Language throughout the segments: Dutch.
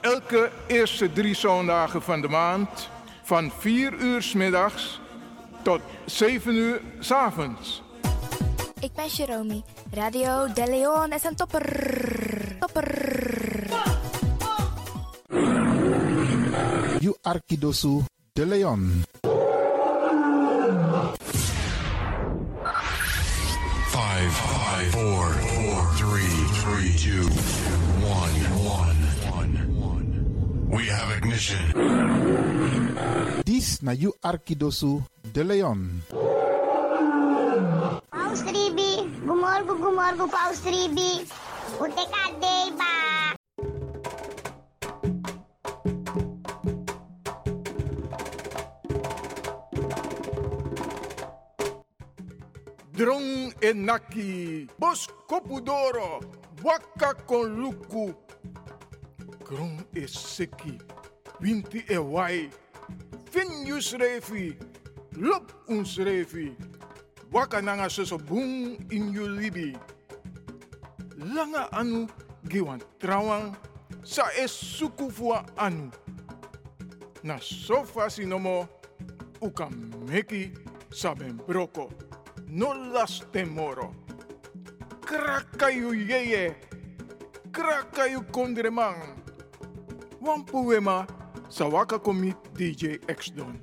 elke eerste drie zondagen van de maand van 4 uur s middags tot 7 uur s avonds. Ik ben Jerome. Radio De Leon is een topper. Topper. You Arkidosu de Leon. Five, five, four, four, three, three, two, one, one, one. We have ignition. Dis na you Arkidosu de Leon. Paus Ribi, gumorgo, gumorgo, Paus Ribi. Utekadei, ba. Drong enaki, bos kopudoro, waka kon luku. Kron eseki, winti ewai, fin yus refi, lop uns refi. Waka nanga soso bung in yu libi. Langa anu giwan trawan, sa es sukufua anu. Na sofa sinomo, uka meki saben broko. No las temoro. Krakayu yeye. Krakayu kondreman. Wan poema sa waka komi DJ X Don.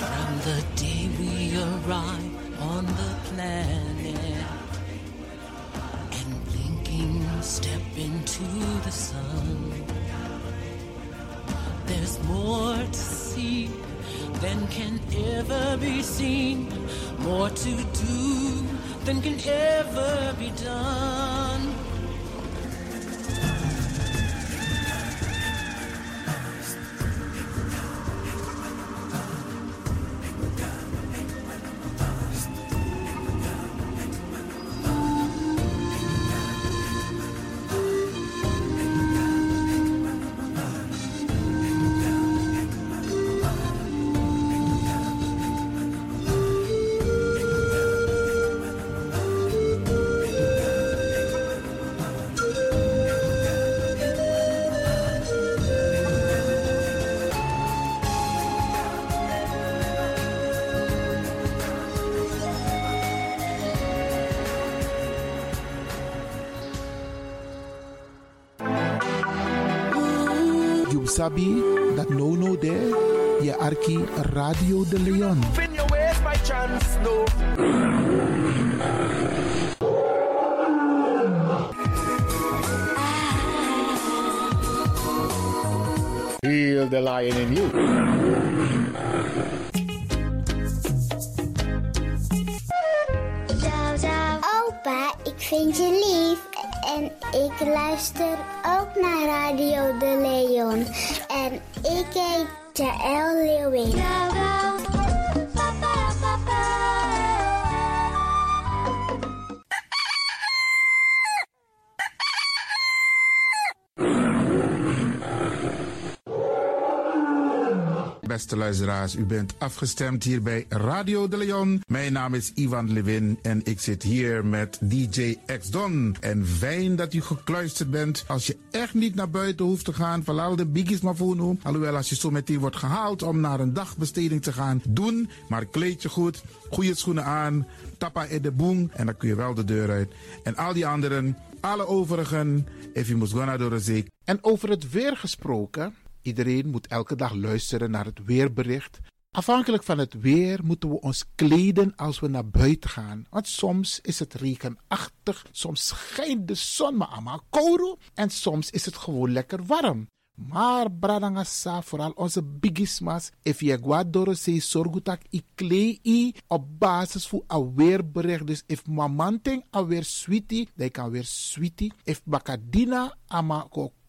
From the day we arrive on the planet and blinking step into the sun, there's more to see than can ever be seen, more to do than can ever be done. You sabi that no no there. Ye Arki Radio de Leon. Fin your ways by chance, no. Feel the lion in you. Opa, ik vind je lief. En ik luister ook naar Radio De Leon. En ik heet Jaël Leeuwin. Beste luisteraars, u bent afgestemd hier bij Radio de Leon. Mijn naam is Ivan Levin en ik zit hier met DJ X Don. En fijn dat u gekluisterd bent. Als je echt niet naar buiten hoeft te gaan, verlaal de biggies maar voor nu. Alhoewel, als je zo meteen wordt gehaald om naar een dagbesteding te gaan, doen. Maar kleed je goed, goede schoenen aan, tappa in de boom en dan kun je wel de deur uit. En al die anderen, alle overigen, if you must go naar door de zee. En over het weer gesproken... Iedereen moet elke dag luisteren naar het weerbericht. Afhankelijk van het weer moeten we ons kleden als we naar buiten gaan. Want soms is het regenachtig, soms schijnt de zon maar allemaal kouro en soms is het gewoon lekker warm. Maar bradangasa, vooral onze bigismas, if je guadoro se sorgutak i klei i op basis voor aweerbericht. Dus if mamanting aweer sweetie, dan kan weer sweetie. If bakadina ama ko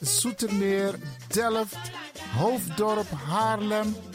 Zoetermeer, Delft, Hoofddorp, Haarlem,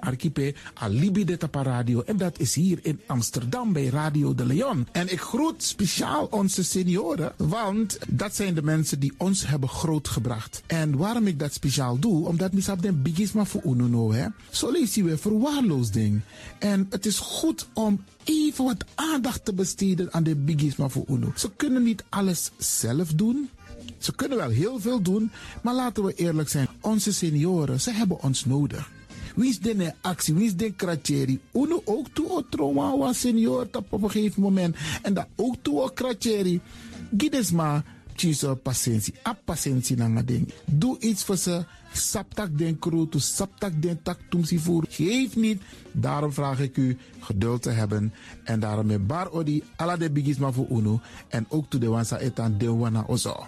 archipel Alibi de Tapa Radio. En dat is hier in Amsterdam bij Radio de Leon. En ik groet speciaal onze senioren, want dat zijn de mensen die ons hebben grootgebracht. En waarom ik dat speciaal doe, omdat misap den bigisma voor ununo, hè. Zo lees je weer verwaarloosding. En het is goed om even wat aandacht te besteden aan de bigisma voor uno. Nou. Ze kunnen niet alles zelf doen. Ze kunnen wel heel veel doen, maar laten we eerlijk zijn. Onze senioren, ze hebben ons nodig. Wins den actie, wins den kratjeri. Uno ook toe o trauma wa senior tap op een gegeven moment. En dat ook toe o kratjeri. Gides maar, tjiso patiëntie. A patiëntie nanga ding. Doe iets voor ze. Saptak den kroto, saptak den tak tumsi voer. Geef niet. Daarom vraag ik u geduld te hebben. En daarom met bar odi, ala de bigisma voor uno. En ook toe de wansa etan de wana ozo.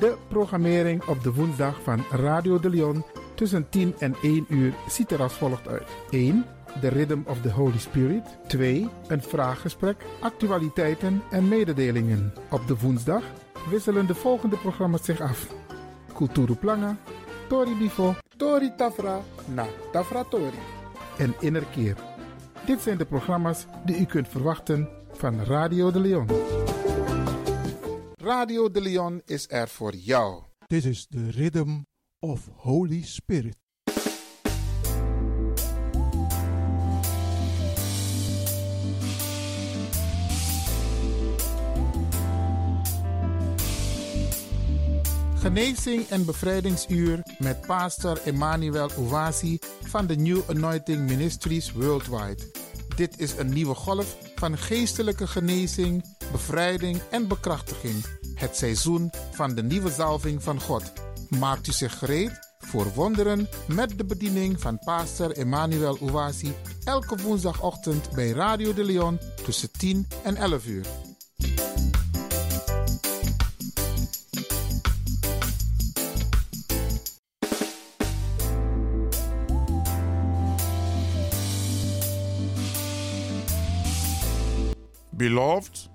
De programmering op de woensdag van Radio de Leon tussen 10 en 1 uur ziet er als volgt uit. 1. De Rhythm of the Holy Spirit. 2. Een vraaggesprek, actualiteiten en mededelingen. Op de woensdag wisselen de volgende programma's zich af. Kulturu Planga, Tori Bifo, Tori Tafra, Na Tafra Tori en Innerkeer. Dit zijn de programma's die u kunt verwachten van Radio de Leon. Radio de Leon is er voor jou. Dit is de Rhythm of Holy Spirit. Genezing en bevrijdingsuur met pastor Emmanuel Owasi van de New Anointing Ministries Worldwide. Dit is een nieuwe golf van geestelijke genezing, bevrijding en bekrachtiging. Het seizoen van de nieuwe zalving van God. Maakt u zich gereed voor wonderen met de bediening van pastor Emmanuel Owasi elke woensdagochtend bij Radio de Leon tussen 10 en 11 uur. Beloved,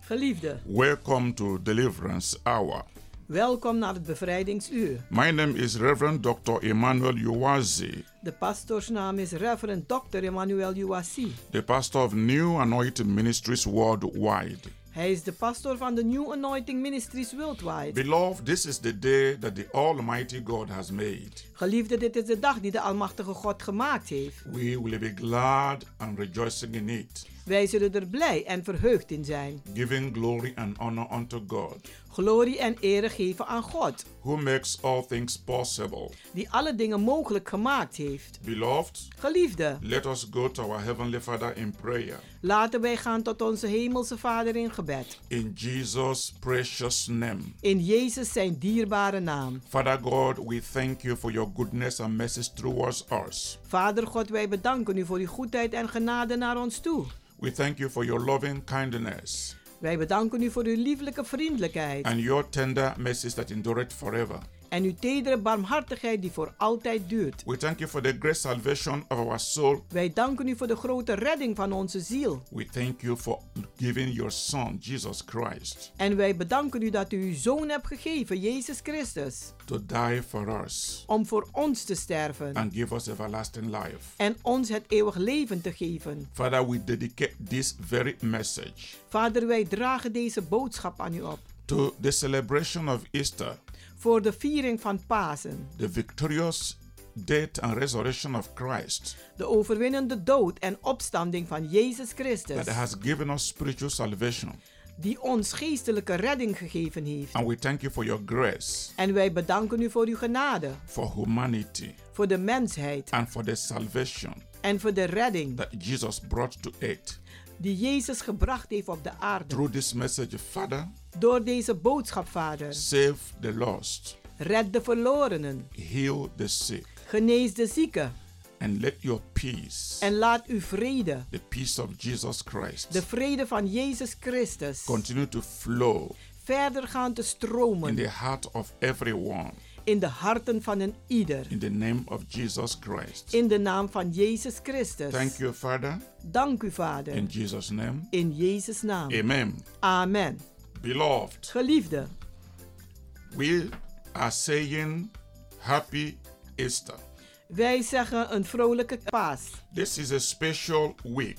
Geliefde, welcome to Deliverance Hour. welkom naar het bevrijdingsuur. My name is Reverend Dr. Emmanuel Uwazi, De pastorsnaam is Reverend Dr. Emmanuel Uwasi. the pastor of New Anointing Ministries worldwide. Hij is de pastor van de New Anointing Ministries Worldwide. Beloved, this is the day that the Almighty God has made. Geliefde, dit is de dag die de Almachtige God gemaakt heeft. We will be glad and rejoicing in it, Wij zullen er blij en verheugd in zijn. giving glory and honor unto God, Glorie en ere geven aan God, who makes all things possible. die alle dingen mogelijk gemaakt heeft. Beloved, Geliefde, let us go to our Heavenly Father in prayer. laten wij gaan tot onze Hemelse Vader in gebed. In Jesus' precious name. In Jezus zijn dierbare naam. Father God, we thank you for your goodness and mercies towards us. Vader God, wij bedanken u voor uw goedheid en genade naar ons toe. We thank you for your loving kindness Wij bedanken u voor uw lieflijke vriendelijkheid and your tender mercies that endureth forever. en uw tedere barmhartigheid die voor altijd duurt. We thank you for the great salvation of our soul. Wij danken u voor de grote redding van onze ziel. We thank you for giving your Son, Jesus Christ, En wij bedanken u dat u uw zoon hebt gegeven, Jezus Christus, to die for us om voor ons te sterven and give us everlasting life. en ons het eeuwig leven te geven. Father, we dedicate this very message Vader, wij dragen deze boodschap aan u op to the celebration of Easter, voor de viering van Pasen, the victorious death and resurrection of Christ. de overwinnende dood en opstanding van Jezus Christus, that has given us spiritual salvation. die ons geestelijke redding gegeven heeft. And we thank you for your grace, En wij bedanken u voor uw genade, for humanity, voor de mensheid and for the salvation en voor de redding that Jesus brought to it. die Jezus gebracht heeft op de aarde. Through this message, Father, Door deze boodschap, Vader, save the lost, red de verlorenen, heal the sick, genees de zieken and let your peace, en laat uw vrede, the peace of Jesus de Christ, vrede van Jezus Christus, continue to flow verder gaan te in stromen the heart of everyone in de harten van een ieder. in the name of Jesus Christ. In de naam van Jezus Christus. Thank you, Father, Dank u, Vader. in Jesus' name. In Jezus' naam. Amen. Amen. Beloved, Geliefde, We are saying happy Easter. wij zeggen een vrolijke paas. This is a special week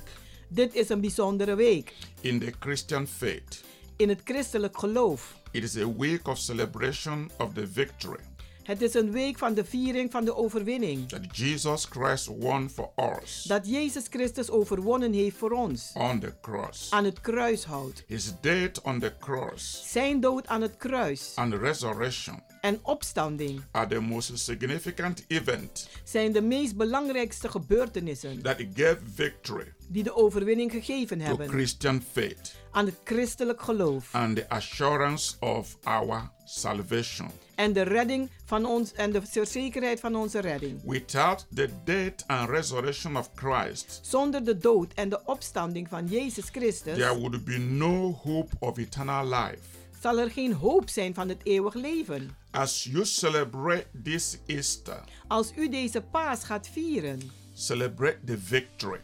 Dit is een bijzondere week in the Christian faith. in het christelijk geloof. It is a week of celebration of the victory Het is een week van de viering van de overwinning. that Jesus Christ won for us Dat Jezus Christus overwonnen heeft voor ons. on the cross. Aan het kruis houdt. His death on the cross Zijn dood aan het kruis and resurrection en opstanding are the most significant event zijn de meest belangrijkste gebeurtenissen that gave victory die de overwinning gegeven to hebben Christian faith aan het christelijk geloof and the assurance of our salvation. en de redding van ons en de zekerheid van onze redding. Without the death and resurrection of Christ, Zonder de dood en de opstanding van Jezus there Christus would be no hope of eternal life. zal er geen hoop zijn van het eeuwig leven. As you celebrate this Easter, Als u deze paas gaat vieren, celebrate the victory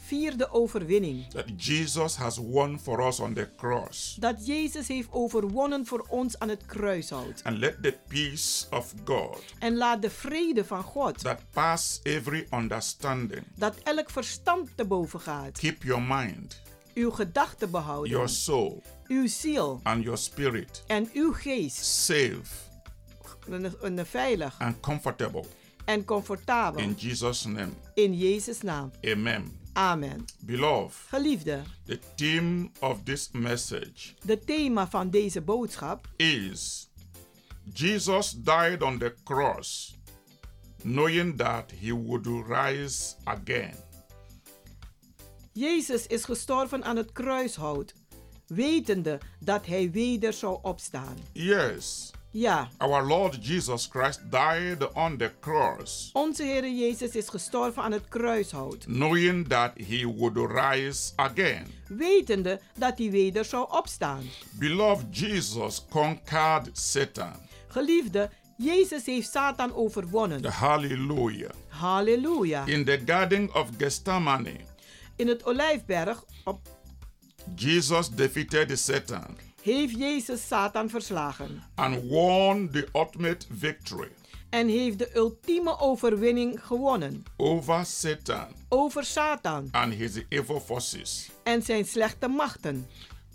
vier de overwinning that Jesus has won for us on the cross. dat Jezus heeft overwonnen voor ons aan het kruishout. And let the peace of God En laat de vrede van God, that pass every understanding dat elk verstand te boven gaat, keep your mind, uw gedachten behouden, your soul, uw ziel and your spirit en uw geest safe een, een veilig and comfortable en comfortabel in Jesus' name. in Jezus' naam. Amen. Amen. Beloved, Geliefde, The theme of this message de thema van deze boodschap is Jesus died on the cross knowing that he would rise again. Jezus is gestorven aan het kruishout, wetende dat hij weder zou opstaan. Yes, Ja, our Lord Jesus Christ died on the cross onze Heer Jezus is gestorven aan het kruishout, knowing that he would rise again. wetende dat hij weder zou opstaan. Beloved, Jesus conquered Satan. Geliefde, Jezus heeft Satan overwonnen. Hallelujah. Halleluja. In the Garden of Gethsemane, In het Olijfberg op, Jesus defeated Satan heeft Jezus Satan verslagen and won the ultimate victory en heeft de ultieme overwinning gewonnen over Satan over Satan and his evil forces. en zijn slechte machten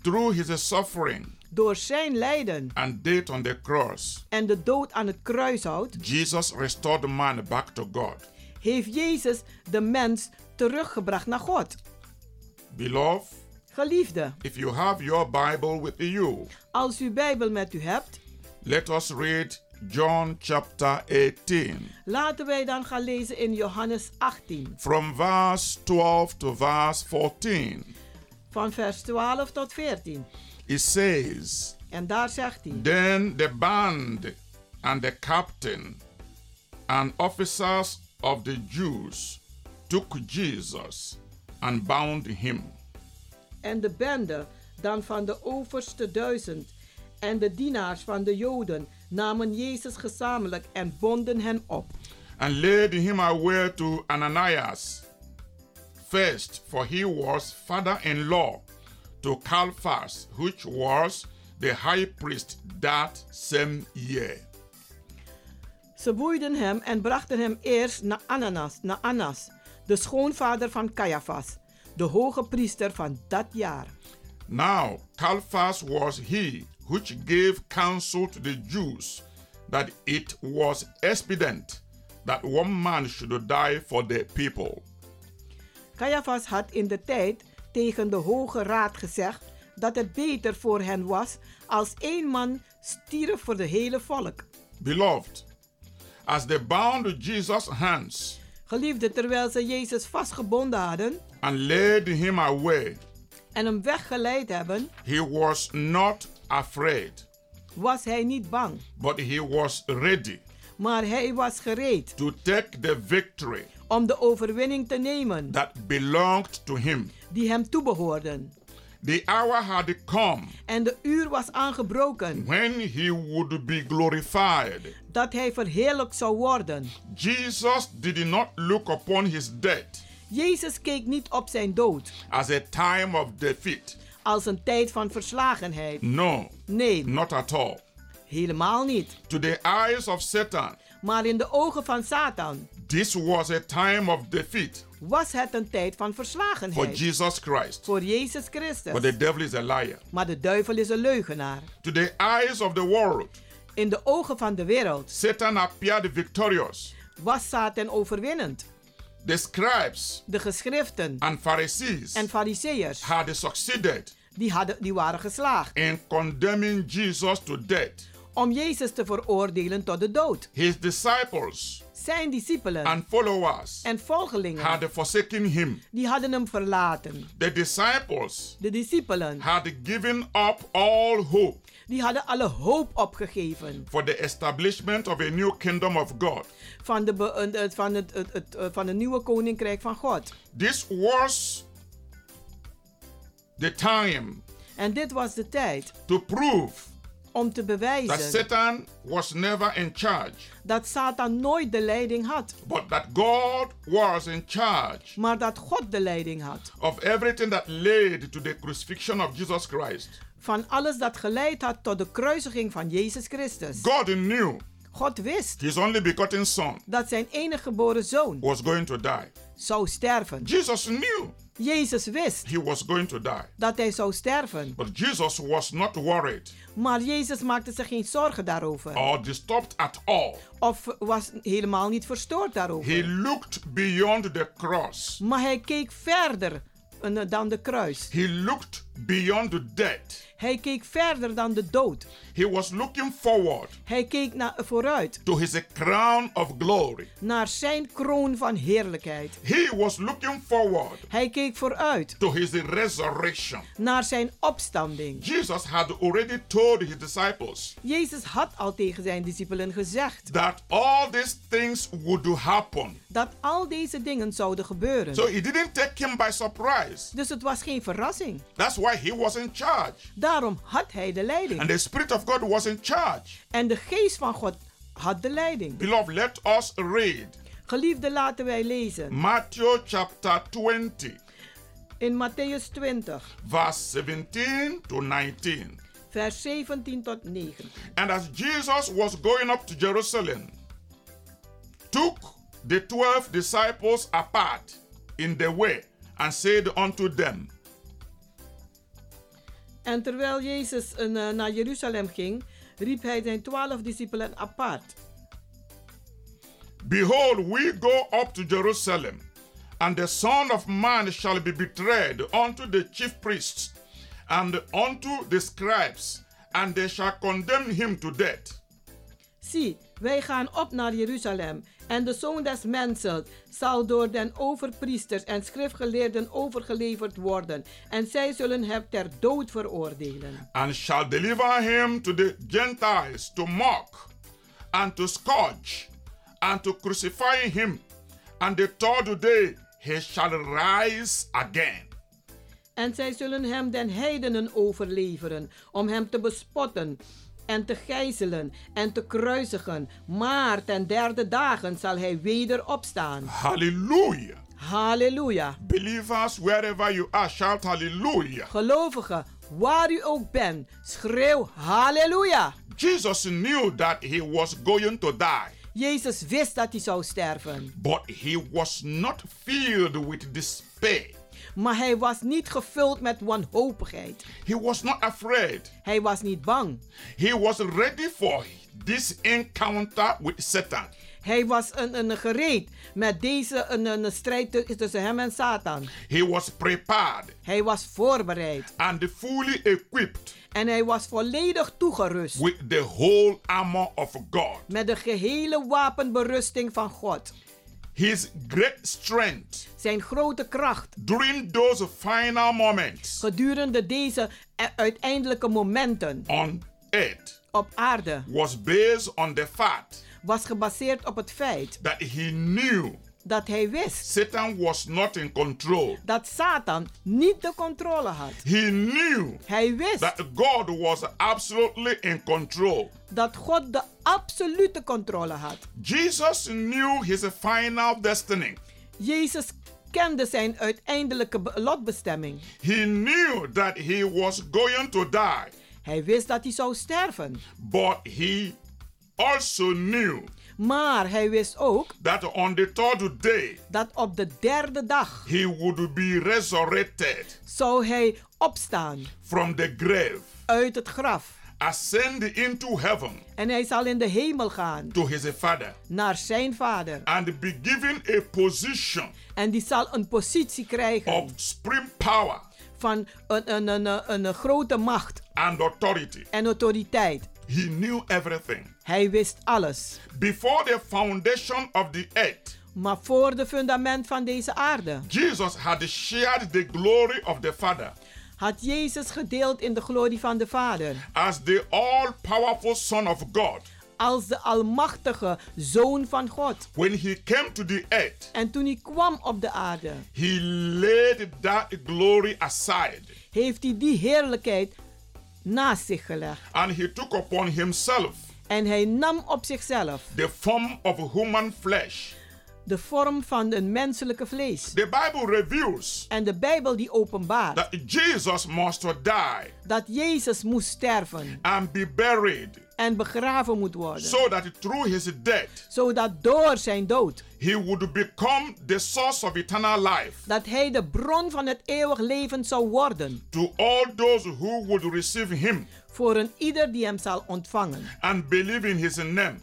Through his suffering door zijn lijden and death on the cross, en de dood aan het kruishout Jesus restored man back to God. heeft Jezus de mens teruggebracht naar God. Beloved, Geliefde, if you have your Bible with you, als u Bijbel met u hebt, let us read John chapter 18 laten wij dan gaan lezen in Johannes 18, from verse 12 to verse 14. van vers 12 tot 14. It says, En daar zegt hij: Then the band and the captain and officers of the Jews took Jesus and bound him En de bende dan van de overste duizend en de dienaars van de Joden namen Jezus gezamenlijk en bonden hen op. and laid him away to Ananias first, for he was father in law to Caiaphas, which was the high priest that same year. Ze boeiden hem en brachten hem eerst naar Ananas, naar Annas, de schoonvader van Caiaphas, de hoge priester van dat jaar. Now, Caiaphas was he which gave counsel to the Jews that it was expedient that one man should die for the people. Caiaphas had in de tijd tegen de hoge raad gezegd dat het beter voor hen was als één man stierf voor de hele volk. Beloved, as they bound Jesus' hands Geliefde, terwijl ze Jezus vastgebonden hadden and laid him away, en hem weggeleid hebben, he was not afraid, was hij niet bang, but he was ready maar hij was gereed to take the victory om de overwinning te nemen that belonged to him. die hem toebehoorden. The hour had come En de uur was aangebroken when he would be glorified. dat hij verheerlijk zou worden. Jesus did not look upon his death Jezus keek niet op zijn dood as a time of defeat. als een tijd van verslagenheid. No, Nee, not at all. helemaal niet. To the eyes of Satan, Maar in de ogen van Satan this was a time of defeat was het een tijd van for verslagenheid Jesus Christ. voor Jezus But the Christus. devil is a liar. Maar de duivel is een leugenaar. To the eyes of the world, In de ogen van de wereld Satan appeared victorious. was Satan overwinnend. The scribes De geschriften and Pharisees en fariseeërs had succeeded die, hadden- die waren geslaagd in condemning Jesus to death. om Jezus te veroordelen tot de dood. His disciples Zijn discipelen and followers en volgelingen had forsaken him. die hadden hem verlaten. The disciples De discipelen had given up all hope die hadden alle hoop opgegeven for the establishment of a new kingdom of God. van, de be- eh, eh, van, het, het, het, eh, van het nieuwe koninkrijk van God. This was the time En dit was de tijd to prove om te that bewijzen Satan was never in charge, dat Satan nooit de leiding had, but that God was in charge maar dat God de leiding had. of everything that led to the crucifixion of Jesus Christ. Van alles dat geleid had tot de kruisiging van Jezus Christus. God knew God wist his only begotten son dat zijn enige geboren zoon was going to die. zou sterven. Jesus knew Jezus wist he was going to die, dat hij zou sterven. but Jesus was not worried Maar Jezus maakte zich geen zorgen daarover. or disturbed at all. Of was helemaal niet verstoord He daarover. looked beyond the cross. Maar hij keek verder eh, dan de kruis. He looked beyond death. Hij keek verder dan de dood. He was looking forward Hij keek naar vooruit to his crown of glory. naar zijn kroon van heerlijkheid. He was looking forward Hij keek vooruit to his resurrection. naar zijn opstanding. Jesus had already told his disciples Jezus had al tegen zijn discipelen gezegd that all these things would happen. dat al deze dingen zouden So gebeuren. it didn't take him by surprise. Dus het was geen verrassing. That's why he was in charge. Daarom had hij de And leiding. the Spirit of God was in charge. En de geest van God had de leiding. Beloved, let us read Geliefde, laten wij lezen Matthew chapter 20, in Matthäus 20, verse 17 to 19. vers 17 tot 19. And as Jesus was going up to Jerusalem, took the twelve disciples apart in the way and said unto them, En terwijl Jezus eh, na- naar Jeruzalem ging, riep hij zijn twaalf discipelen apart. Behold, we go up to Jerusalem, and the Son of Man shall be betrayed unto the chief priests and unto the scribes, and they shall condemn him to death. Zie, wij gaan op naar Jeruzalem. En de zoon des mensen zal door den overpriesters en schriftgeleerden overgeleverd worden. En zij zullen hem ter dood veroordelen. and shall deliver him to the Gentiles to mock and to scourge and to crucify him. And the third day he shall rise again. En zij zullen hem den heidenen overleveren, om hem te bespotten en te gijzelen en te kruisigen. Maar ten derde dagen zal hij weder opstaan. Hallelujah. Halleluja. Believers, wherever you are, shout hallelujah. Gelovigen, waar u ook bent, schreeuw halleluja. Jesus knew that he was going to die, Jezus wist dat hij zou sterven. but he was not filled with despair. Maar hij was niet gevuld met wanhopigheid. He was not afraid. Hij was niet bang. He was ready for this encounter with Satan. Hij was een, een gereed met deze een, een strijd tu- tussen hem en Satan. He was prepared Hij was voorbereid and fully equipped en hij was volledig toegerust with the whole armor of God. met de gehele wapenberusting van God. His great strength Zijn grote kracht during those final moments gedurende deze eh, uiteindelijke momenten on earth op aarde was based on the fact was gebaseerd op het feit that he knew dat hij wist Satan was not in control. dat Satan niet de controle had. He knew Hij wist that God was absolutely in control. dat God de absolute controle had. Jesus knew his final destiny. Jezus kende zijn uiteindelijke be- lotbestemming. He knew that he was going to die, Hij wist dat hij zou sterven. but he also knew Maar hij wist ook that on the third day dat op de derde dag he would be resurrected zou hij opstaan from the grave, uit het graf. ascend into heaven En hij zal in de hemel gaan to his father, naar zijn vader. and be given a position En die zal een positie krijgen of supreme power van een, een, een, een, een grote macht and authority. en autoriteit. He knew everything. Hij wist alles. Before the foundation of the earth, Maar voor de fundament van deze aarde Jesus had shared the glory of the Father had Jezus gedeeld in de glorie van de Vader. as the all powerful Son of God. als de almachtige zoon van God. When he came to the earth, En toen hij kwam op de aarde, he laid that glory aside heeft hij die heerlijkheid naast zich gelegd. and he took upon himself En hij nam op zichzelf the form of human flesh. de vorm van een menselijke vlees. The Bible reveals En de Bijbel die openbaart that Jesus must die dat Jezus moest sterven and be buried en begraven moet worden. so that through his death Zodat door zijn dood, he would become the source of eternal life dat hij de bron van het eeuwig leven zou worden. to all those who would receive him Voor een ieder die hem zal ontvangen. and believe in his name.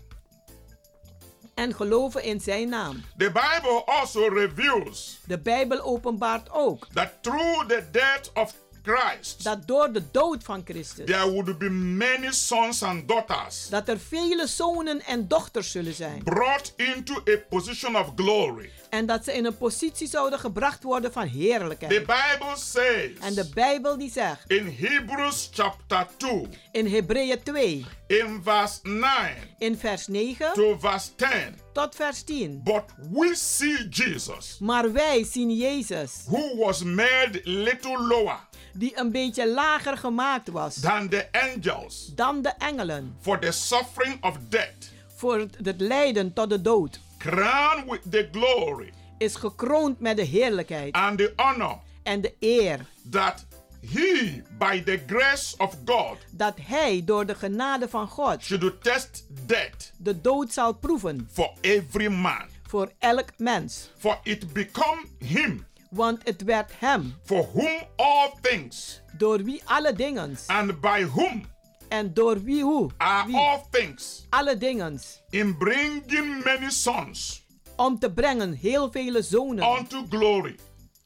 En geloven in zijn naam. The Bible also reveals De Bijbel openbaart ook that through the death of Christ, dat door de dood van Christus there would be many sons and daughters dat er vele zonen en dochters zullen zijn brought into a position of glory. en dat ze in een positie zouden gebracht worden van heerlijkheid. The Bible says en de Bijbel die zegt in Hebrews chapter 2, in Hebreeën 2 in verse 9 in vers 9 to verse 10, tot vers 10 but we see Jesus maar wij zien Jezus who was made little lower die een beetje lager gemaakt was than the angels dan de engelen for the suffering of death, voor het- het lijden tot de dood crowned with the glory is gekroond met de heerlijkheid and the honor en de eer that he, by the grace of God, dat hij door de genade van God should test death de dood zal proeven for every man. voor elk mens. For it become him Want het werd hem for whom all things door wie alle dingen and by whom en door wie hoe are wie, all things alle dingen in bringing many sons om te brengen heel vele zonen unto glory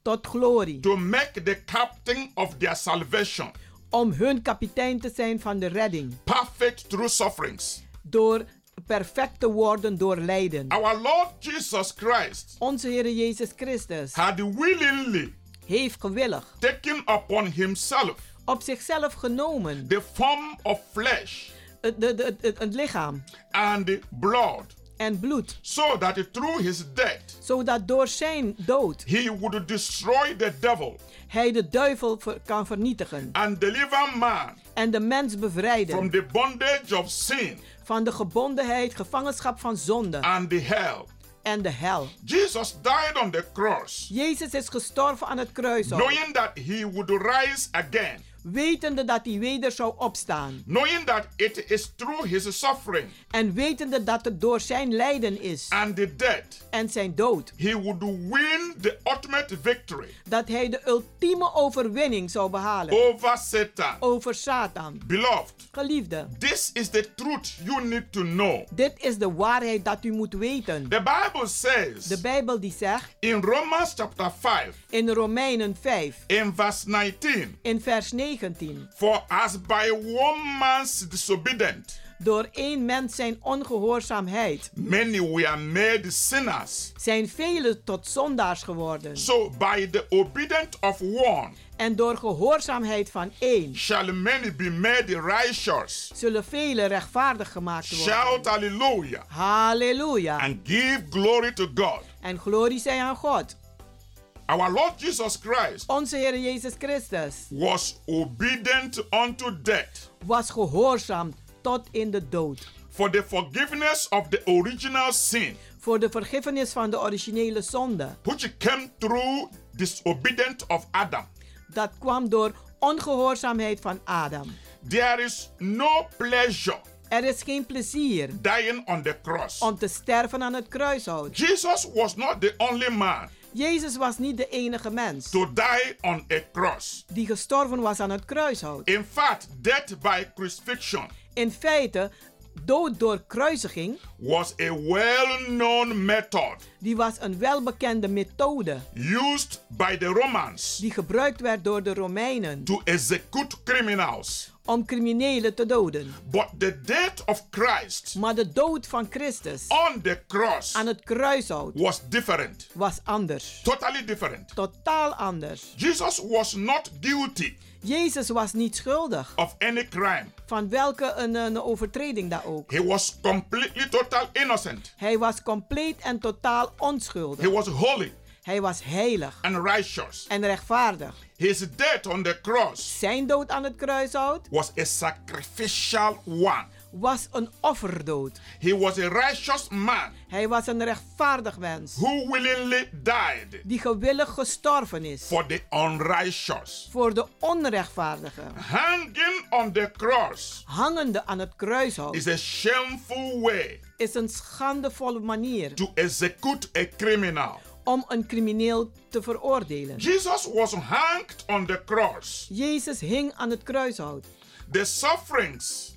tot glorie. to make the captain of their salvation Om hun kapitein te zijn van de redding. perfect through sufferings. Door perfect te worden door lijden. Our Lord Jesus Christ Onze Heer Jezus Christus had willingly heeft gewillig taken upon himself op zichzelf genomen the form of flesh het, het, het, het- het lichaam and blood en bloed. so that through his death Zodat door zijn dood he would destroy the devil hij de duivel ver- kan vernietigen. and deliver man En de mens from bevrijden the bondage of sin van de gebondenheid, gevangenschap van zonde and the hell. en de hel. Jesus died on the cross Jezus is gestorven aan het kruis, al, knowing that he would rise again, wetende dat hij weder zou opstaan. knowing that it is through his suffering En wetende dat het door zijn lijden is and the death en zijn dood he would win the ultimate victory dat hij de ultieme overwinning zou behalen over Satan. over Satan. Beloved, Geliefde, this is the truth you need to know. dit is de waarheid dat u moet weten. The Bible says De Bijbel die zegt in Romans chapter 5, in Romeinen 5 in verse 19, in vers 19. for as by one man's disobedience Door één mens zijn ongehoorzaamheid many were made sinners, zijn velen tot zondaars geworden. so by the obedience of one En door gehoorzaamheid van één shall many be made righteous. zullen velen rechtvaardig gemaakt worden. Shout hallelujah Halleluja. and give glory to God. En glorie zij aan God. Our Lord Jesus Christ Onze Heer Jezus Christus was obedient unto death was gehoorzaam tot in de dood. for the forgiveness of the original sin, Voor de vergiffenis van de originele zonde. which came through disobedience of Adam. Dat kwam door ongehoorzaamheid van Adam. There is no pleasure Er is geen plezier dying on the cross. om te sterven aan het kruishout. Jesus was not the only man Jezus was niet de enige mens to die on a cross. die gestorven was aan het kruishout. In fact, death by crucifixion In feite, dood door kruisiging, was a well known method die was een welbekende methode used by the Romans die gebruikt werd door de Romeinen to execute criminals. om criminelen te doden. But the death of Christ Maar de dood van Christus on the cross aan het kruishout was different, was anders. totally different. Totaal anders. Jesus was not guilty Jezus was niet schuldig of any crime. van welke een, een overtreding dan ook. He was completely total innocent. Hij was compleet en totaal He onschuldig. was holy Hij was heilig and righteous. en rechtvaardig. His death on the cross Zijn dood aan het kruishout was a sacrificial one. was een offerdood. He was a righteous man Hij was een rechtvaardig mens who willingly died die gewillig gestorven is for the unrighteous. voor de onrechtvaardigen. Hanging on the cross Hangende aan het kruishout is a shameful way is een schandevolle manier to execute a criminal. om een crimineel te veroordelen. Jesus was hanged on the cross. Jezus hing aan het kruishout. The sufferings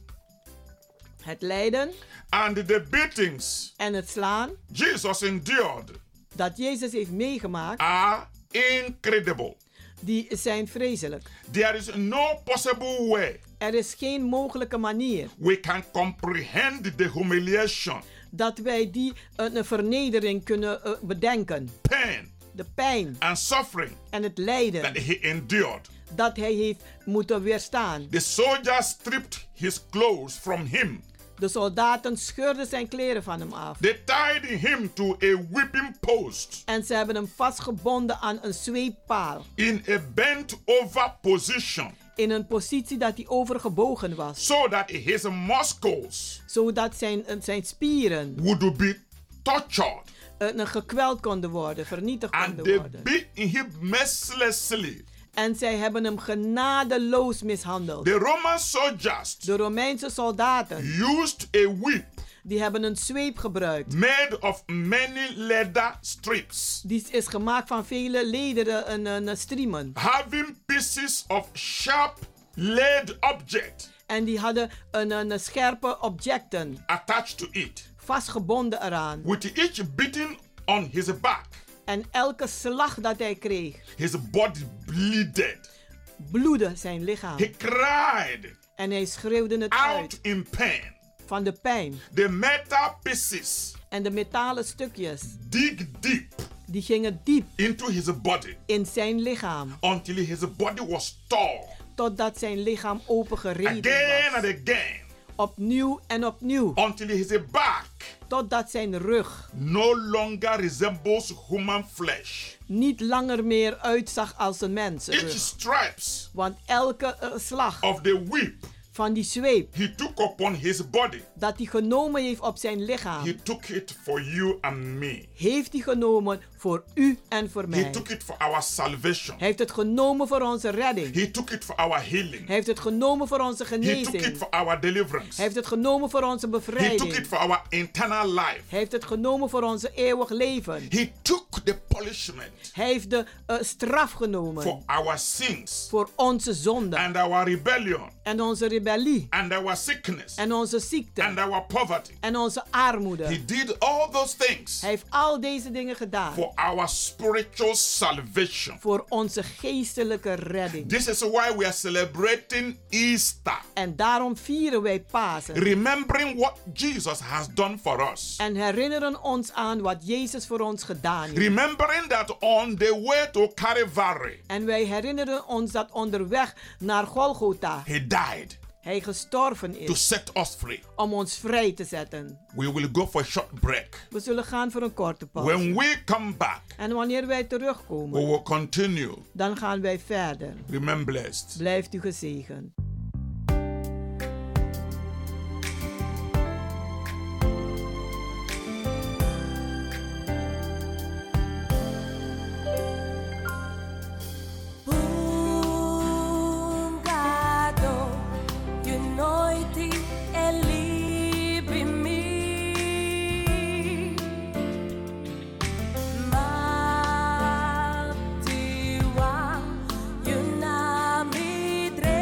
Het lijden and the beatings en het slaan Jesus endured dat Jezus heeft meegemaakt are incredible. die zijn vreselijk. There is no possible way Er is geen mogelijke manier we can comprehend the humiliation, dat wij die eh, een vernedering kunnen eh, bedenken. pain, De pijn and suffering en het lijden that he endured. dat hij heeft moeten weerstaan. The soldier stripped his clothes from him. De soldaten scheurden zijn kleren van hem af. They tied him to a whipping post En ze hebben hem vastgebonden aan een zweeppaal. in a bent over position In een positie dat hij overgebogen was. so that his muscles Zodat zijn, eh, zijn spieren would be tortured. eh, eh, gekweld konden worden, vernietigd And konden they worden. beat him mercilessly. En zij hebben hem genadeloos mishandeld. The Roman soldiers De Romeinse soldaten used a whip die hebben een zweep gebruikt. made of many leather strips, Die is gemaakt van vele lederen en, en eh, striemen. having pieces of sharp lead object En die hadden een, een scherpe objecten attached to it, vastgebonden eraan. with each beating on his back. En elke slag dat hij kreeg, His body bleeded. bloedde zijn lichaam. He cried En hij schreeuwde het out uit in pain. van de pijn. The metal pieces En de metalen stukjes, dig deep die gingen diep into his body in zijn lichaam. until his body was torn Totdat zijn lichaam opengereden again was. and again Opnieuw en opnieuw. until his back Totdat zijn rug no longer resembles human flesh. niet langer meer uitzag als een Each mensenrug. stripes Want elke eh, slag of the whip van die zweep he took upon his body, dat hij genomen heeft op zijn he lichaam, took it for you and me. heeft hij genomen voor u en voor He mij. took it for our salvation. Hij heeft het genomen voor onze redding. He took it for our healing. Hij heeft het genomen voor onze He took it genezing. for our deliverance. Hij heeft het genomen voor onze He took it bevrijding. for our internal life. Hij heeft het genomen voor onze eeuwig leven. He took the punishment Hij heeft de eh, straf for genomen our sins voor onze zonde and our rebellion en onze rebellie and our sickness en onze ziekte and our poverty. en onze He armoede. did all those things Hij heeft al deze dingen gedaan for our spiritual salvation. voor onze geestelijke redding. This is why we are celebrating Easter, En daarom vieren wij Pasen remembering what Jesus has done for us. en herinneren ons aan wat Jezus voor ons gedaan heeft. Remembering that on the way to Calvary, En wij herinneren ons dat onderweg naar Golgotha He died hij gestorven to is set us free. om ons vrij te zetten. We will go for a short break. We zullen gaan voor een korte When pauze. we come back, En wanneer wij we terugkomen, will continue. dan gaan wij verder. Remain blessed. Blijft u gezegend. Bungado, je nooit die er lieb in mij. Matiwa, je na mi dre.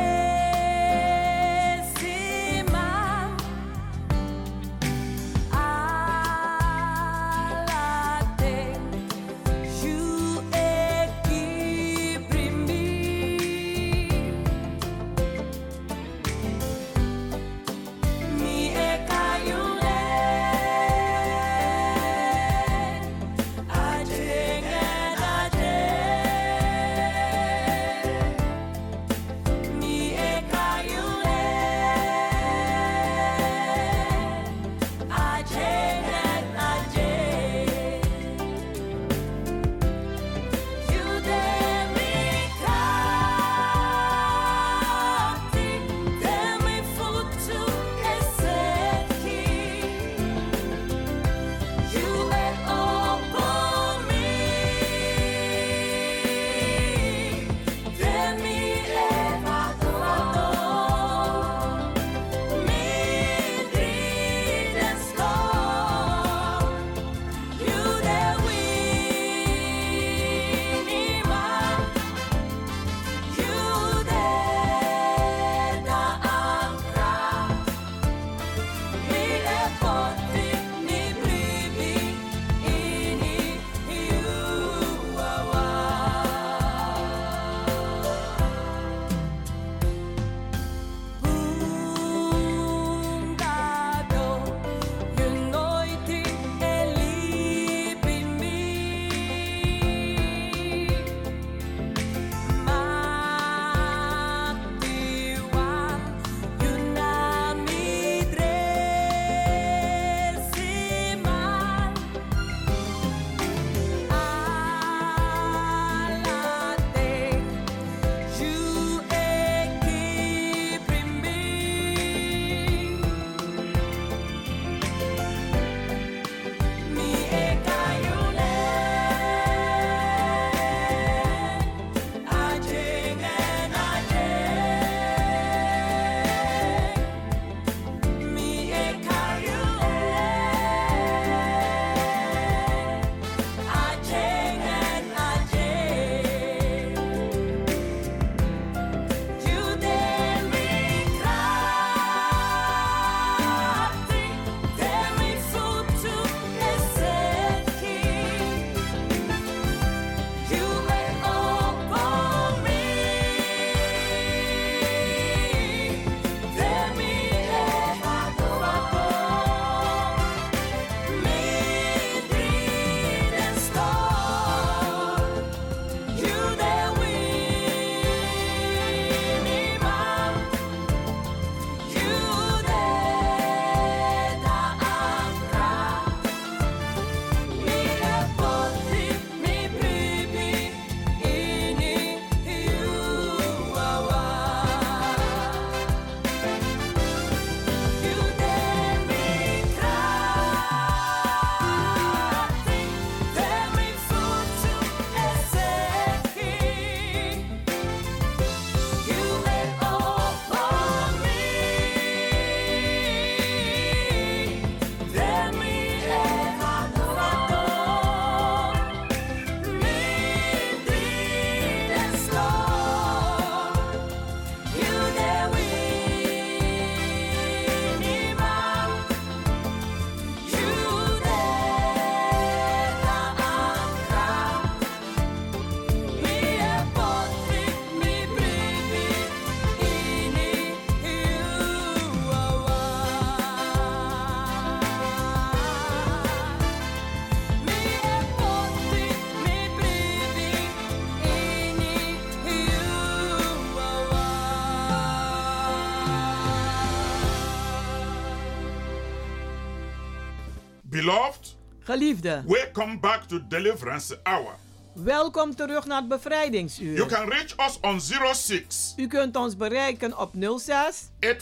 Geliefde. Welcome back to Deliverance Hour. Welkom terug naar het bevrijdingsuur. You can reach us on 06 U kunt ons bereiken op 06 84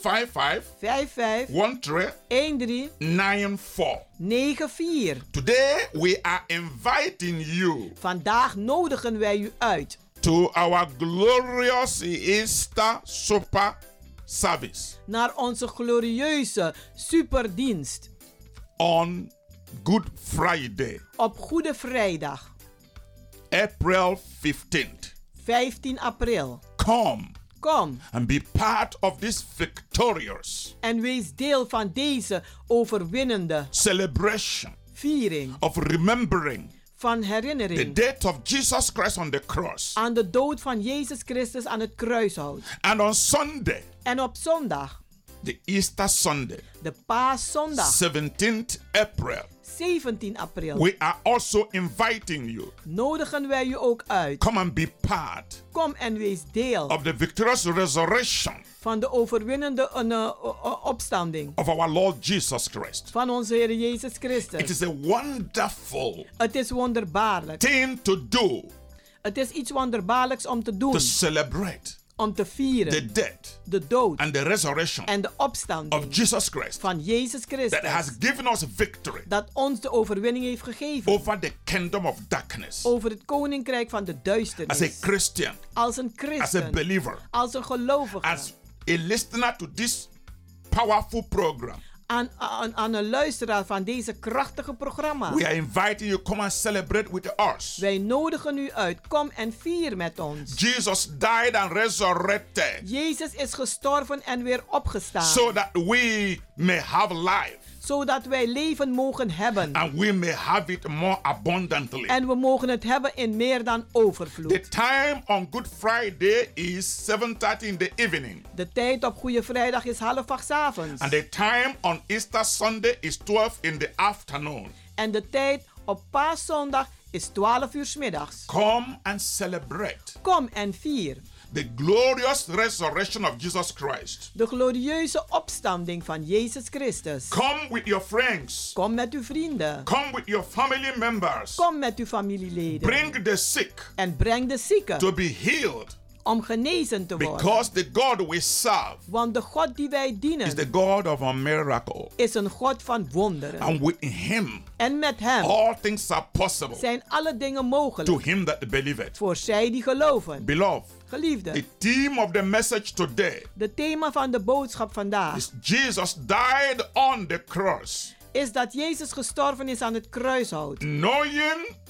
84 55 55 13 13 94. 94. Today we are inviting you Vandaag nodigen wij u uit to our glorious Easter Supper service naar onze glorieuze superdienst on Good Friday, op Goede Vrijdag, April 15th. 15 april. Come Kom and be part of this victorious en wees deel van deze overwinnende celebration viering of remembering van the herinnering death of Jesus Christ on the cross. aan de dood van Jezus Christus aan het kruishout. And on Sunday, En op zondag, the Easter Sunday, de paaszondag, 17th April, 17 april, we are also inviting you. nodigen wij u ook uit. Come and be part Kom en wees deel of the victorious resurrection van de overwinnende eh, eh, eh, opstanding of our Lord Jesus Christ. van onze Heer Jezus It Christus. is a wonderful Het is wonderbaarlijk. thing to do Het is iets wonderbaarlijks om te doen, to celebrate om te the vieren death de dood and the resurrection en de of opstanding Jesus Christ van Jezus that has Christus. given us victory Dat ons de overwinning heeft gegeven over the kingdom of darkness. over het koninkrijk van de As a duisternis. Christian, Als een as a christen, believer, als een gelovige, as a listener to this powerful program, aan, aan, aan een luisteraar van deze krachtige programma. we are inviting you come and celebrate with us. Wij nodigen u uit. Kom en vier met ons. Jesus died and resurrected Jezus is gestorven en weer opgestaan. so that we may have life Zodat wij leven mogen hebben. and we may have it more abundantly. En we mogen het hebben in meer dan The overvloed. time on Good Friday is 7:30 in the evening, De tijd op Goede Vrijdag is half acht 's avonds. and the time on Easter Sunday is 12 in the afternoon. En de tijd op paaszondag is 12 uur 's middags. Come and celebrate Kom en vier the glorious resurrection of Jesus Christ. de glorieuze opstanding van Jezus Christus. Come with your friends. Kom met uw vrienden. Come with your family members. Kom met uw familieleden. Bring the sick En breng de to zieken be healed om genezen te worden. because the God we serve Want de God die wij is the dienen God of a miracle. is een God van wonderen. And with him, En met hem all things are possible zijn alle dingen to mogelijk him that believeth. voor zij die geloven. Beloved, the Geliefde, theme of the message today de thema van de boodschap vandaag is Jesus died on the cross, is dat Jezus gestorven is aan het kruishout. knowing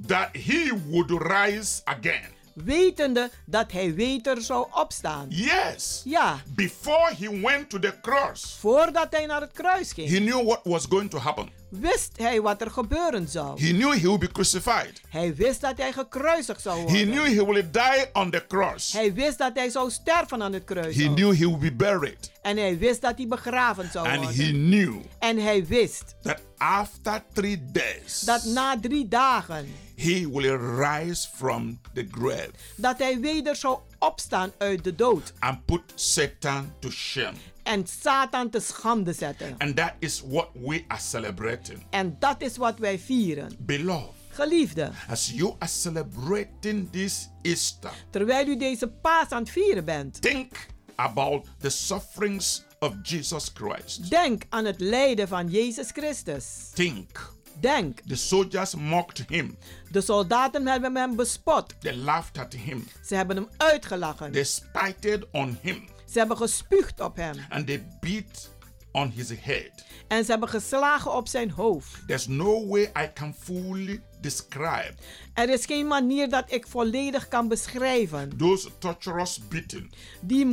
that he would rise again. Wetende dat hij weter zou opstaan. Yes, Ja, before he went to the cross, voordat hij naar het kruis he ging, knew what was going to happen. wist hij wat er gebeuren zou. He knew he would be crucified. Hij wist dat hij gekruisigd zou He knew worden. he would die on the cross. Hij wist dat hij zou sterven aan het He kruis. knew he would be buried. En hij wist dat hij begraven zou And he worden. knew En hij wist that after three days, dat na drie dagen he will rise from the grave dat hij weder zou opstaan uit de dood and put Satan to shame. en Satan te schande zetten. And that is what we are celebrating. En dat is wat wij vieren. Beloved, Geliefde, as you are celebrating this Easter, terwijl u deze paas aan het vieren bent, think about the sufferings of Jesus Christ. denk aan het lijden van Jezus Christus. Think. Denk, The soldiers mocked him. de soldaten hebben hem bespot. They laughed at him. Ze hebben hem uitgelachen. They spited on him. Ze hebben gespuugd op hem. And they beat on his head. En ze hebben geslagen op zijn hoofd. There's no way I can fully describe Er is geen manier dat ik volledig kan beschrijven. those torturous beating Die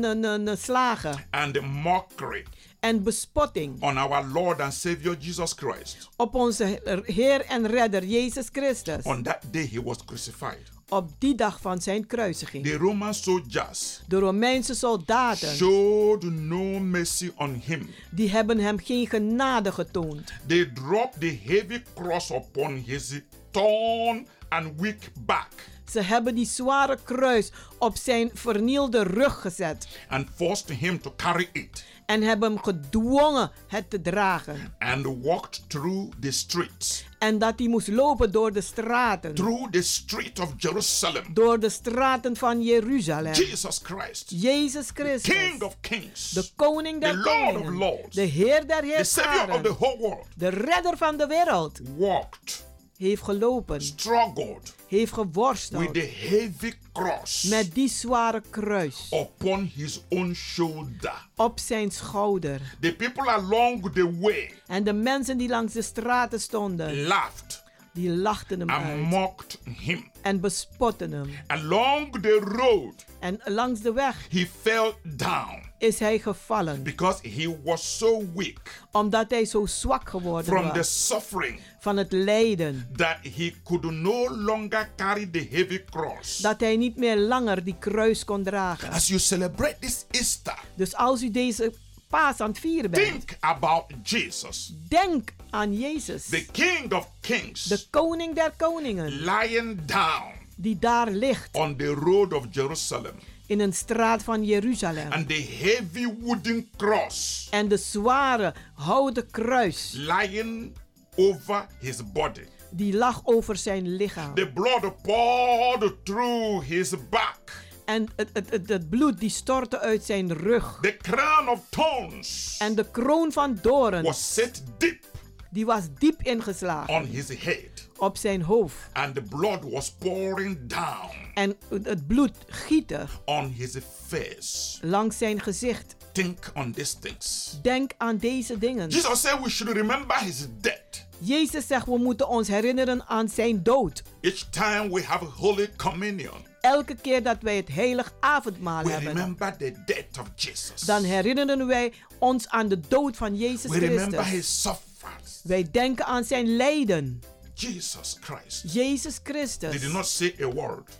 martelingsslagen and the mockery en bespotting on our Lord and Savior Jesus Christ op onze Heer en Redder Jezus Christus. on that day he was crucified. Op die dag van zijn kruisiging. The Roman soldiers De Romeinse soldaten showed no mercy on him. die hebben hem geen genade getoond. They dropped the heavy cross upon his torn and weak back Ze hebben die zware kruis op zijn vernielde rug gezet. and forced him to carry it En hebben hem gedwongen het te dragen. and walked through the streets, En dat hij moest lopen door de straten. through the street of Jerusalem. Door de straten van Jeruzalem. Jesus Christ, Jezus Christus. King of Kings, de koning der the Lord of koningen. Lords, de Heer der the Savior of the Heerscharen. whole world, De redder van de wereld. walked, Heeft gelopen. struggled Heeft with geworsteld. the heavy cross Met die zware kruis. upon his own shoulder. Op zijn schouder. The people along the way En de mensen die langs de straten stonden. laughed Die lachten hem and uit. mocked him. En bespotten hem. Along the road, En langs de weg he fell down is hij gevallen. because he was so weak Omdat hij zo zwak geworden from the was. suffering Van het lijden. that he could no longer carry the heavy cross. Dat hij niet meer langer die kruis kon dragen. As you celebrate this Easter, Dus als u deze paas aan het vieren bent. think about Jesus, Denk aan Jezus. the King of Kings, De koning der koningen. lying down Die daar ligt. on the road of Jerusalem, in een straat van Jeruzalem. and the heavy wooden cross En de zware houten kruis lying over his body. die lag over zijn lichaam. The blood poured through his back. En het, het, het, het bloed die stortte uit zijn rug. The crown of thorns En de kroon van doren was set deep die was diep ingeslagen on his head, op zijn hoofd. and the blood was pouring down En het, het bloed giette on his face. langs zijn gezicht. Think on these things. Denk aan deze dingen. Jesus said we should remember his death. Jezus zegt we moeten ons herinneren aan zijn dood. Each time we have Holy Communion, Elke keer dat wij het heilig avondmaal we hebben, remember the death of Jesus. dan herinneren wij ons aan de dood van Jezus We remember Christus. his sufferings. Wij denken aan zijn lijden. Jesus Christ Jezus They did Christus, not say a word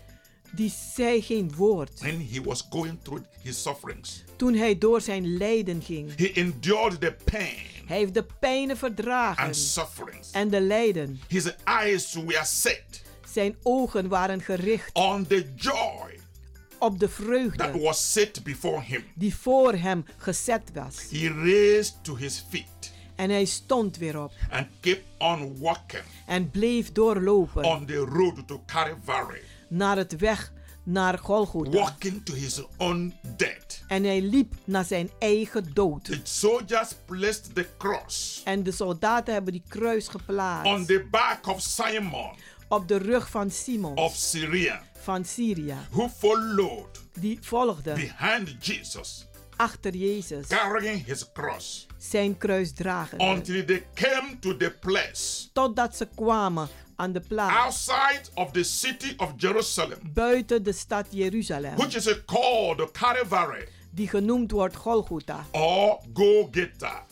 die zei geen woord when he was going through his sufferings. toen hij door zijn lijden ging. He endured the pain Hij heeft de pijnen verdragen and sufferings. en de lijden. His eyes were set Zijn ogen waren gericht on the joy op de that vreugde was set before him. die voor hem gezet was. He raised to his feet En hij stond weer op and kept on walking en bleef doorlopen on the road to Calvary, naar het weg naar Golgotha. walking to his own death. En hij liep naar zijn eigen dood. The soldiers placed the cross En de soldaten hebben die kruis on geplaatst the back of Simon op de rug van Simon of Syria, van Syrië. who followed Die volgde behind Jesus, achter Jezus. carrying his cross zijn kruis dragen. until they came to the place Totdat ze kwamen aan de plaats outside of the city of Jerusalem, buiten de stad Jeruzalem, which is called Calvary die genoemd wordt Golgotha. or Golgotha,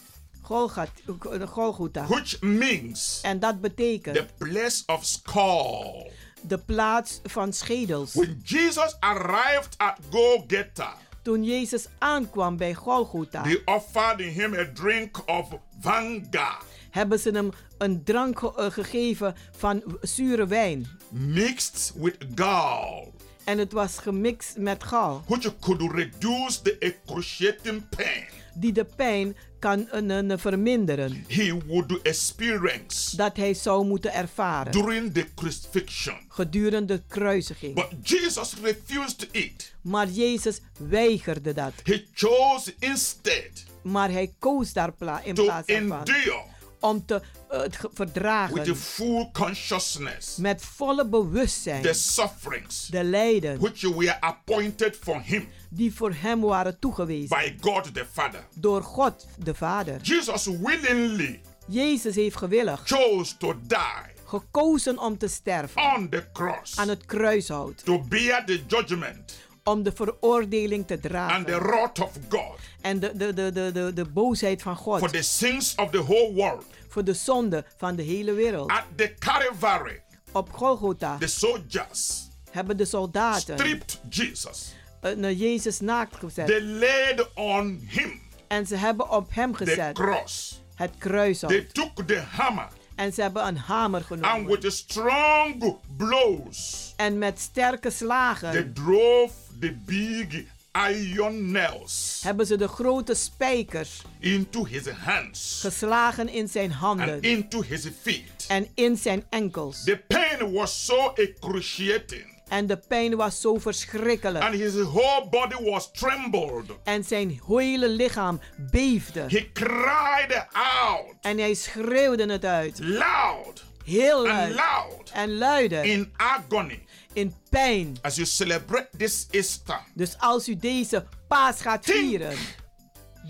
Golgat- eh, Golgotha. which means En dat the betekent place of skull. de plaats van schedels. When Jesus arrived at Golgotha, Toen Jezus aankwam bij Golgotha, they offered him a drink of vanga hebben ze hem een drank ge- eh, gegeven van w- zure wijn. mixed with gall, En het was gemixt met gal, which could reduce the excruciating pain die de pijn kan eh, eh, verminderen. he would experience Dat hij zou moeten ervaren during the crucifixion. gedurende de kruisiging. But Jesus refused it. Maar Jezus weigerde dat. He chose instead Maar hij koos daar pla in to plaats daarvan endure om te eh, het ge- with a verdragen full consciousness met volle bewustzijn the sufferings de lijden which were appointed for him die voor hem waren toegewezen by God the Father. door God de Vader. Jesus willingly Jezus heeft gewillig chose to die gekozen om te sterven on the cross aan het kruishout to bear the judgment om de veroordeling te and the dragen wrath of God en de, de, de, de, de, de boosheid van for God the sins of the whole world. voor de zonde van de hele wereld. At the Calvary, Op Golgotha the soldiers hebben de soldaten stripped Jesus. eh, naar Jezus naakt gezet. They laid on him En ze hebben op hem the gezet cross. het kruis op. They took the hammer En ze hebben een hamer and genomen. with strong blows en met sterke slagen They drove the big iron nails hebben ze de grote spijkers into his hands geslagen in zijn and handen into his feet. en in zijn enkels. The pain was so excruciating, En de pijn was zo verschrikkelijk. and his whole body was trembled. En zijn hele lichaam beefde. He cried out En hij schreeuwde het uit. loud Heel and luid. loud En luide. in agony In pijn. as you celebrate this Easter. Dus als u deze paas gaat vieren.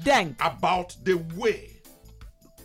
Denk About the way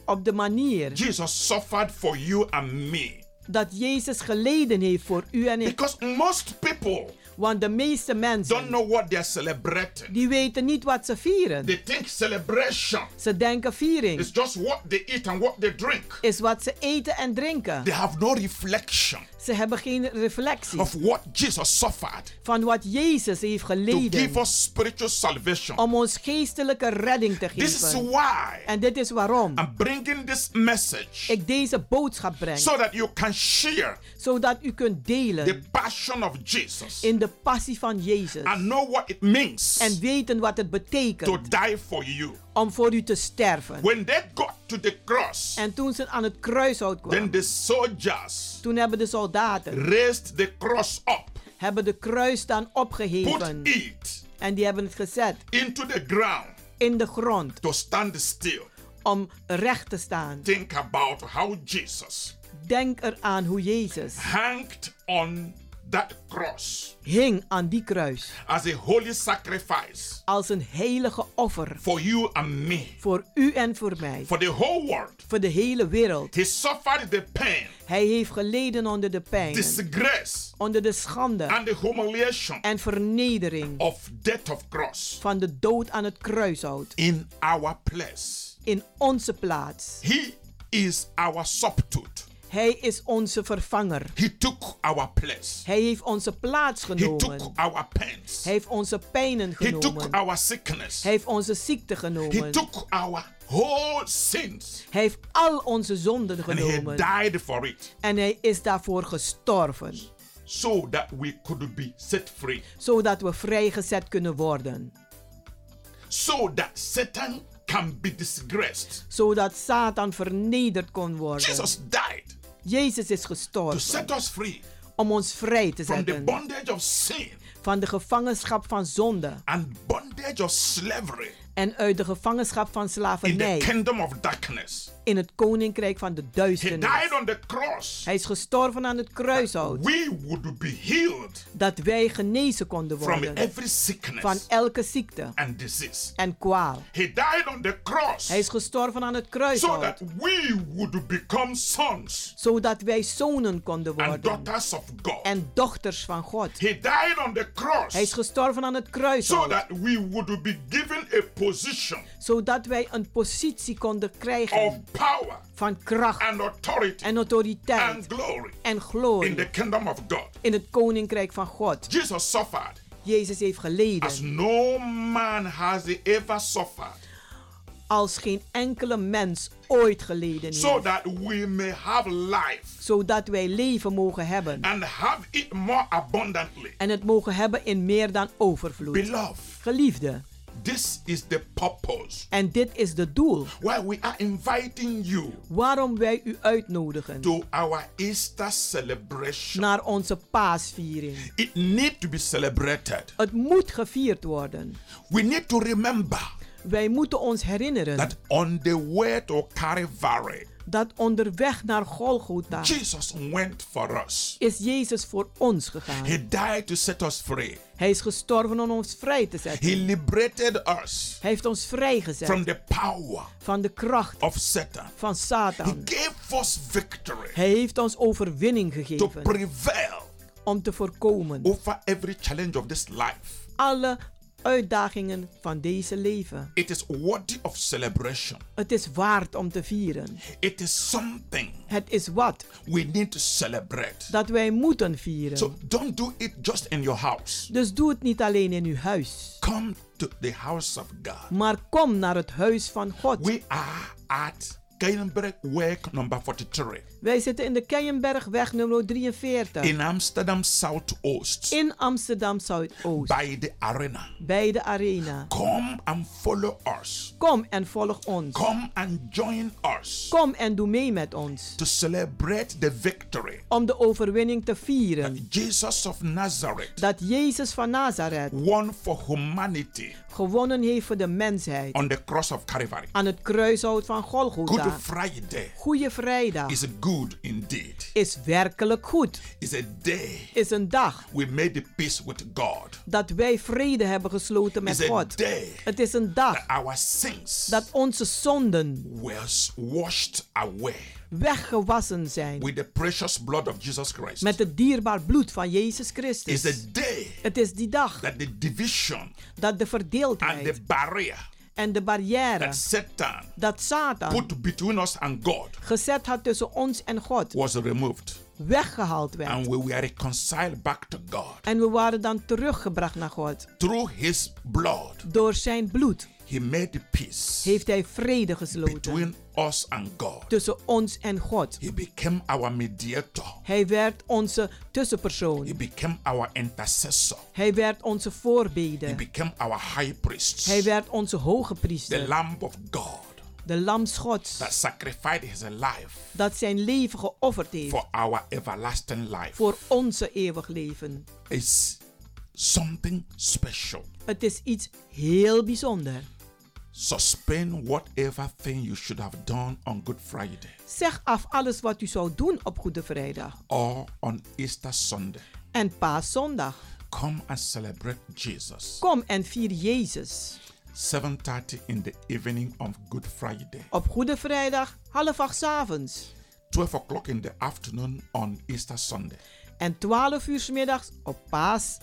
op de manier Jesus suffered for you and me. dat Jezus geleden heeft voor u en ik. Because most people Want de meeste don't mensen know what they're celebrating. die weten niet wat ze vieren. They think celebration Ze denken viering is just what they eat and what they drink. is wat ze eten en drinken. They have no reflection Ze hebben geen reflectie of what Jesus suffered van wat Jezus heeft to geleden give us spiritual salvation. om ons geestelijke redding te This is geven. why En dit is waarom I'm bringing this message ik deze boodschap breng, so that you can share zodat u kunt the delen passion of Jesus in de passie van Jezus and know what it means en weten wat het to betekent die for you. om voor u te sterven. When they got to the cross, En toen ze aan het kruishout then kwamen, the soldiers toen hebben de soldaten raised the cross up, hebben de kruis dan put opgeheven it en die hebben het gezet into the ground in de grond to stand still. om recht te staan. Think about how Jesus Denk eraan hoe Jezus hanged on that cross hing aan die kruis as a holy sacrifice als een heilige offer for you and me, voor u en voor mij, for the whole world. voor de hele wereld. He suffered the pain, Hij heeft geleden onder de pijn, disgrace, onder de schande and the humiliation en vernedering of death of cross van de dood aan het kruishout in our place. in onze plaats. He is our substitute. Hij is onze vervanger. He took our place. Hij heeft onze plaats He genomen. took our pains. Hij heeft onze pijnen He took genomen. our sickness. Hij heeft onze ziekte He genomen. took our whole sins. Hij heeft al onze zonden And he genomen. died for it En hij is daarvoor gestorven, so that we could be set free. zodat we vrijgezet kunnen worden. So that Satan can be disgraced. Zodat Satan vernederd kon worden. Jesus died Jezus is to gestorven set us free om ons vrij te from the zetten bondage of sin van de gevangenschap van zonde and bondage of slavery en uit de gevangenschap van in the slavernij kingdom of darkness. in het koninkrijk van de He died duisternis. on the cross. Hij is gestorven aan het kruishout, We would be healed dat wij genezen konden from worden every van sickness elke ziekte and disease. en kwaal. He died on the cross Hij is gestorven aan het so that kruishout, we would become sons zodat wij zonen konden and worden daughters of God. en dochters van God. He died on the cross Hij is gestorven aan het so kruishout, that we would be given a position zodat wij een positie konden krijgen of power van kracht and authority en and autoriteit glory en in the glorie kingdom of God. in het koninkrijk van God. Jesus suffered Jezus heeft as geleden no man has ever suffered als geen enkele mens ooit geleden so heeft, that we may have life zodat wij leven mogen hebben and have it more abundantly. en het mogen hebben in meer dan overvloed. Beloved, Geliefde, this is the purpose en dit is de doel why we are inviting you waarom wij u uitnodigen to our Easter celebration. naar onze paasviering. It need to be celebrated. Het moet gevierd worden. We need to remember Wij moeten ons herinneren that on the way to Calvary, dat onderweg naar Golgotha Jesus went for us. is Jezus voor ons gegaan. He died to set us free. Hij is gestorven om ons vrij te zetten. He liberated us Hij heeft ons from vrijgezet the power van de kracht of Satan. van He Satan. gave us victory Hij heeft ons overwinning to gegeven prevail om te voorkomen over every challenge of this life. alle uitdagingen van deze leven. It is worthy of celebration. Het is waard om te vieren. It is something Het is wat we need to celebrate. dat wij moeten So vieren. don't do it just in your house. Dus doe het niet alleen in uw huis, Come to the house of God. maar kom naar het huis van God. We are at Keienbergweg number 43. Wij zitten in de Keienbergweg nummer 43. In Amsterdam Zuidoost. In Amsterdam Zuidoost. Bij de arena. Bij de arena. Come and follow us. Kom en volg ons. Come and join us. Kom en doe mee met ons. To celebrate the victory. Om de overwinning te vieren. Jesus of Nazareth. Dat Jezus van Nazareth. Won for humanity. Gewonnen heeft voor de mensheid. On the cross of Calvary. Aan het kruishout van Golgotha. Good Friday. Goeie vrijdag. Is good indeed. Is werkelijk goed. Is a day. Is een dag. We made the peace with God. Dat wij vrede hebben gesloten met Is a God. day. Het is een dag. That our sins. Dat onze zonden was washed away. weggewassen zijn. With the precious blood of Jesus Christ. Met het dierbaar bloed van Is Jezus Christus. a day. Het is die dag That the division. dat de And the verdeeldheid barrier. en de barrière That Satan. dat Satan Put between us and God. gezet had tussen ons en God Was removed. weggehaald werd. And we were reconciled back to God. En we waren dan teruggebracht naar God. Through his blood. Door zijn bloed He made the peace. heeft hij vrede gesloten Between us and God. tussen ons en God. He became our mediator. Hij werd onze tussenpersoon. He became our intercessor. Hij werd onze He voorbeden. became our high priest. Hij werd onze hoge the priester. Lamb of God De lams Gods. that sacrificed his life Dat zijn leven geofferd heeft for our everlasting life. voor onze eeuwig leven. It's something special. Het is iets heel bijzonder. Suspend whatever thing you should have done on Good Friday Zeg af alles wat u zou doen op Goede Vrijdag or on Easter Sunday. en Paaszondag. Come and celebrate Jesus. Kom en vier Jezus. 7:30 in the evening of Good Friday. Op Goede Vrijdag, half acht 's avonds 12 o'clock in the afternoon on Easter Sunday. en 12 uur 's middags op Paas.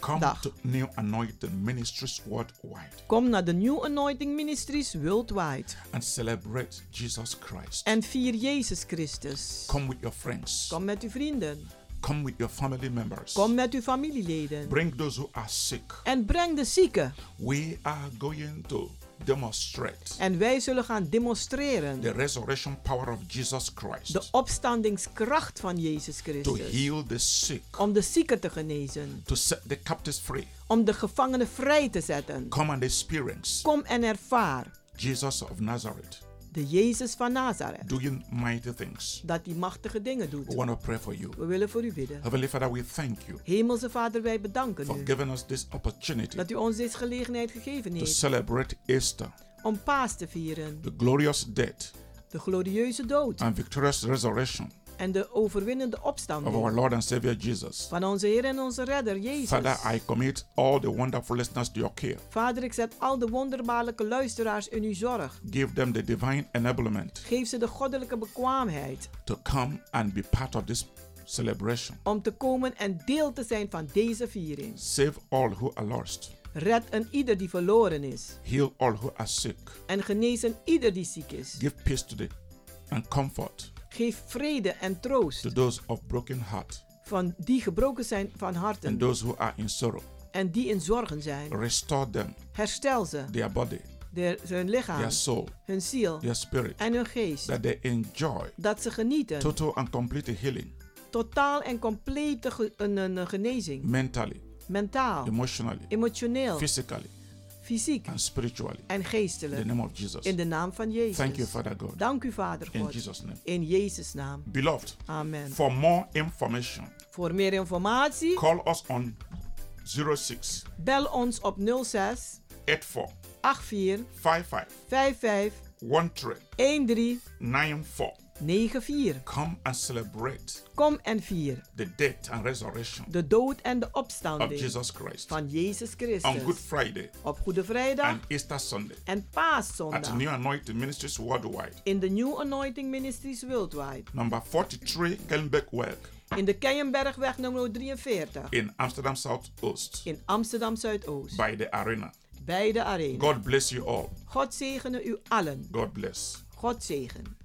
Come Dag. to New Anointing Ministries worldwide Kom naar de New Anointing Ministries worldwide and celebrate Jesus Christ. en vier Jezus Christus. Come with your friends. Kom met uw vrienden. Come with your family members. Kom met uw familieleden. Bring those who are sick. En breng de zieken. We are going to demonstrate En wij zullen gaan demonstreren the resurrection power of Jesus Christ de opstandingskracht van Jezus to Christus. heal the sick, Om de zieken te genezen. to set the captives free. Om de gevangenen vrij te zetten. Come and experience Kom en ervaar Jesus of Nazareth de Jezus van Nazareth. doing mighty things. Dat hij machtige We dingen doet. want to pray for you. We willen voor u bidden. Heavenly Father, we thank you Hemelse Vader, wij bedanken for u giving us this opportunity dat u ons deze gelegenheid gegeven to heeft celebrate Easter, om paas te vieren. the glorious death De glorieuze dood and victorious resurrection en de overwinnende of our opstanding Lord and Savior Jesus. van onze Heer en onze Redder Father, Jezus. I commit all the wonderful listeners to your care. Vader, ik zet al de wonderbaarlijke luisteraars in uw zorg. Give them the divine enablement Geef ze de goddelijke bekwaamheid to come and be part of this celebration. om te komen en deel te zijn van deze viering. Save all who are lost. Red een ieder die verloren is Heal all who are sick. en genees een ieder die ziek is. Give peace to the and comfort Geef vrede en troost to those of broken heart van die gebroken zijn van and harten those who are in sorrow. en die in zorgen zijn. Restore them, Herstel ze, their body, de- hun lichaam, their soul, hun ziel their spirit, en hun geest. that they enjoy Dat ze genieten total and complete healing totaal en complete ge- een, een- een genezing. mentally, Mentaal, emotionally, emotioneel, physically, fysiek and spiritually. en In the geestelijk. name of Jesus. In de naam van Jezus. Thank you, Father God. Dank u, Vader In God. Jesus' name. In Jezus' naam. Beloved, Amen. for more information, Voor meer informatie, call us on 06 bel ons op 06 84 84 55 55 13 13 94. 94. Come and celebrate Kom en vier the death and resurrection de dood en de of opstanding Jesus Christ van Jezus on Good Christus. Friday Op Goede Vrijdag and Easter Sunday en at Paaszondag New Anointing Ministries Worldwide, in de New Anointing Ministries Worldwide. number 43 Kellenbeck Weg In de Keienbergweg nummer 43. in Amsterdam South Oost In Amsterdam Zuidoost. by the arena. Bij de arena. God bless you all. God zegene u allen. God bless. God zegen.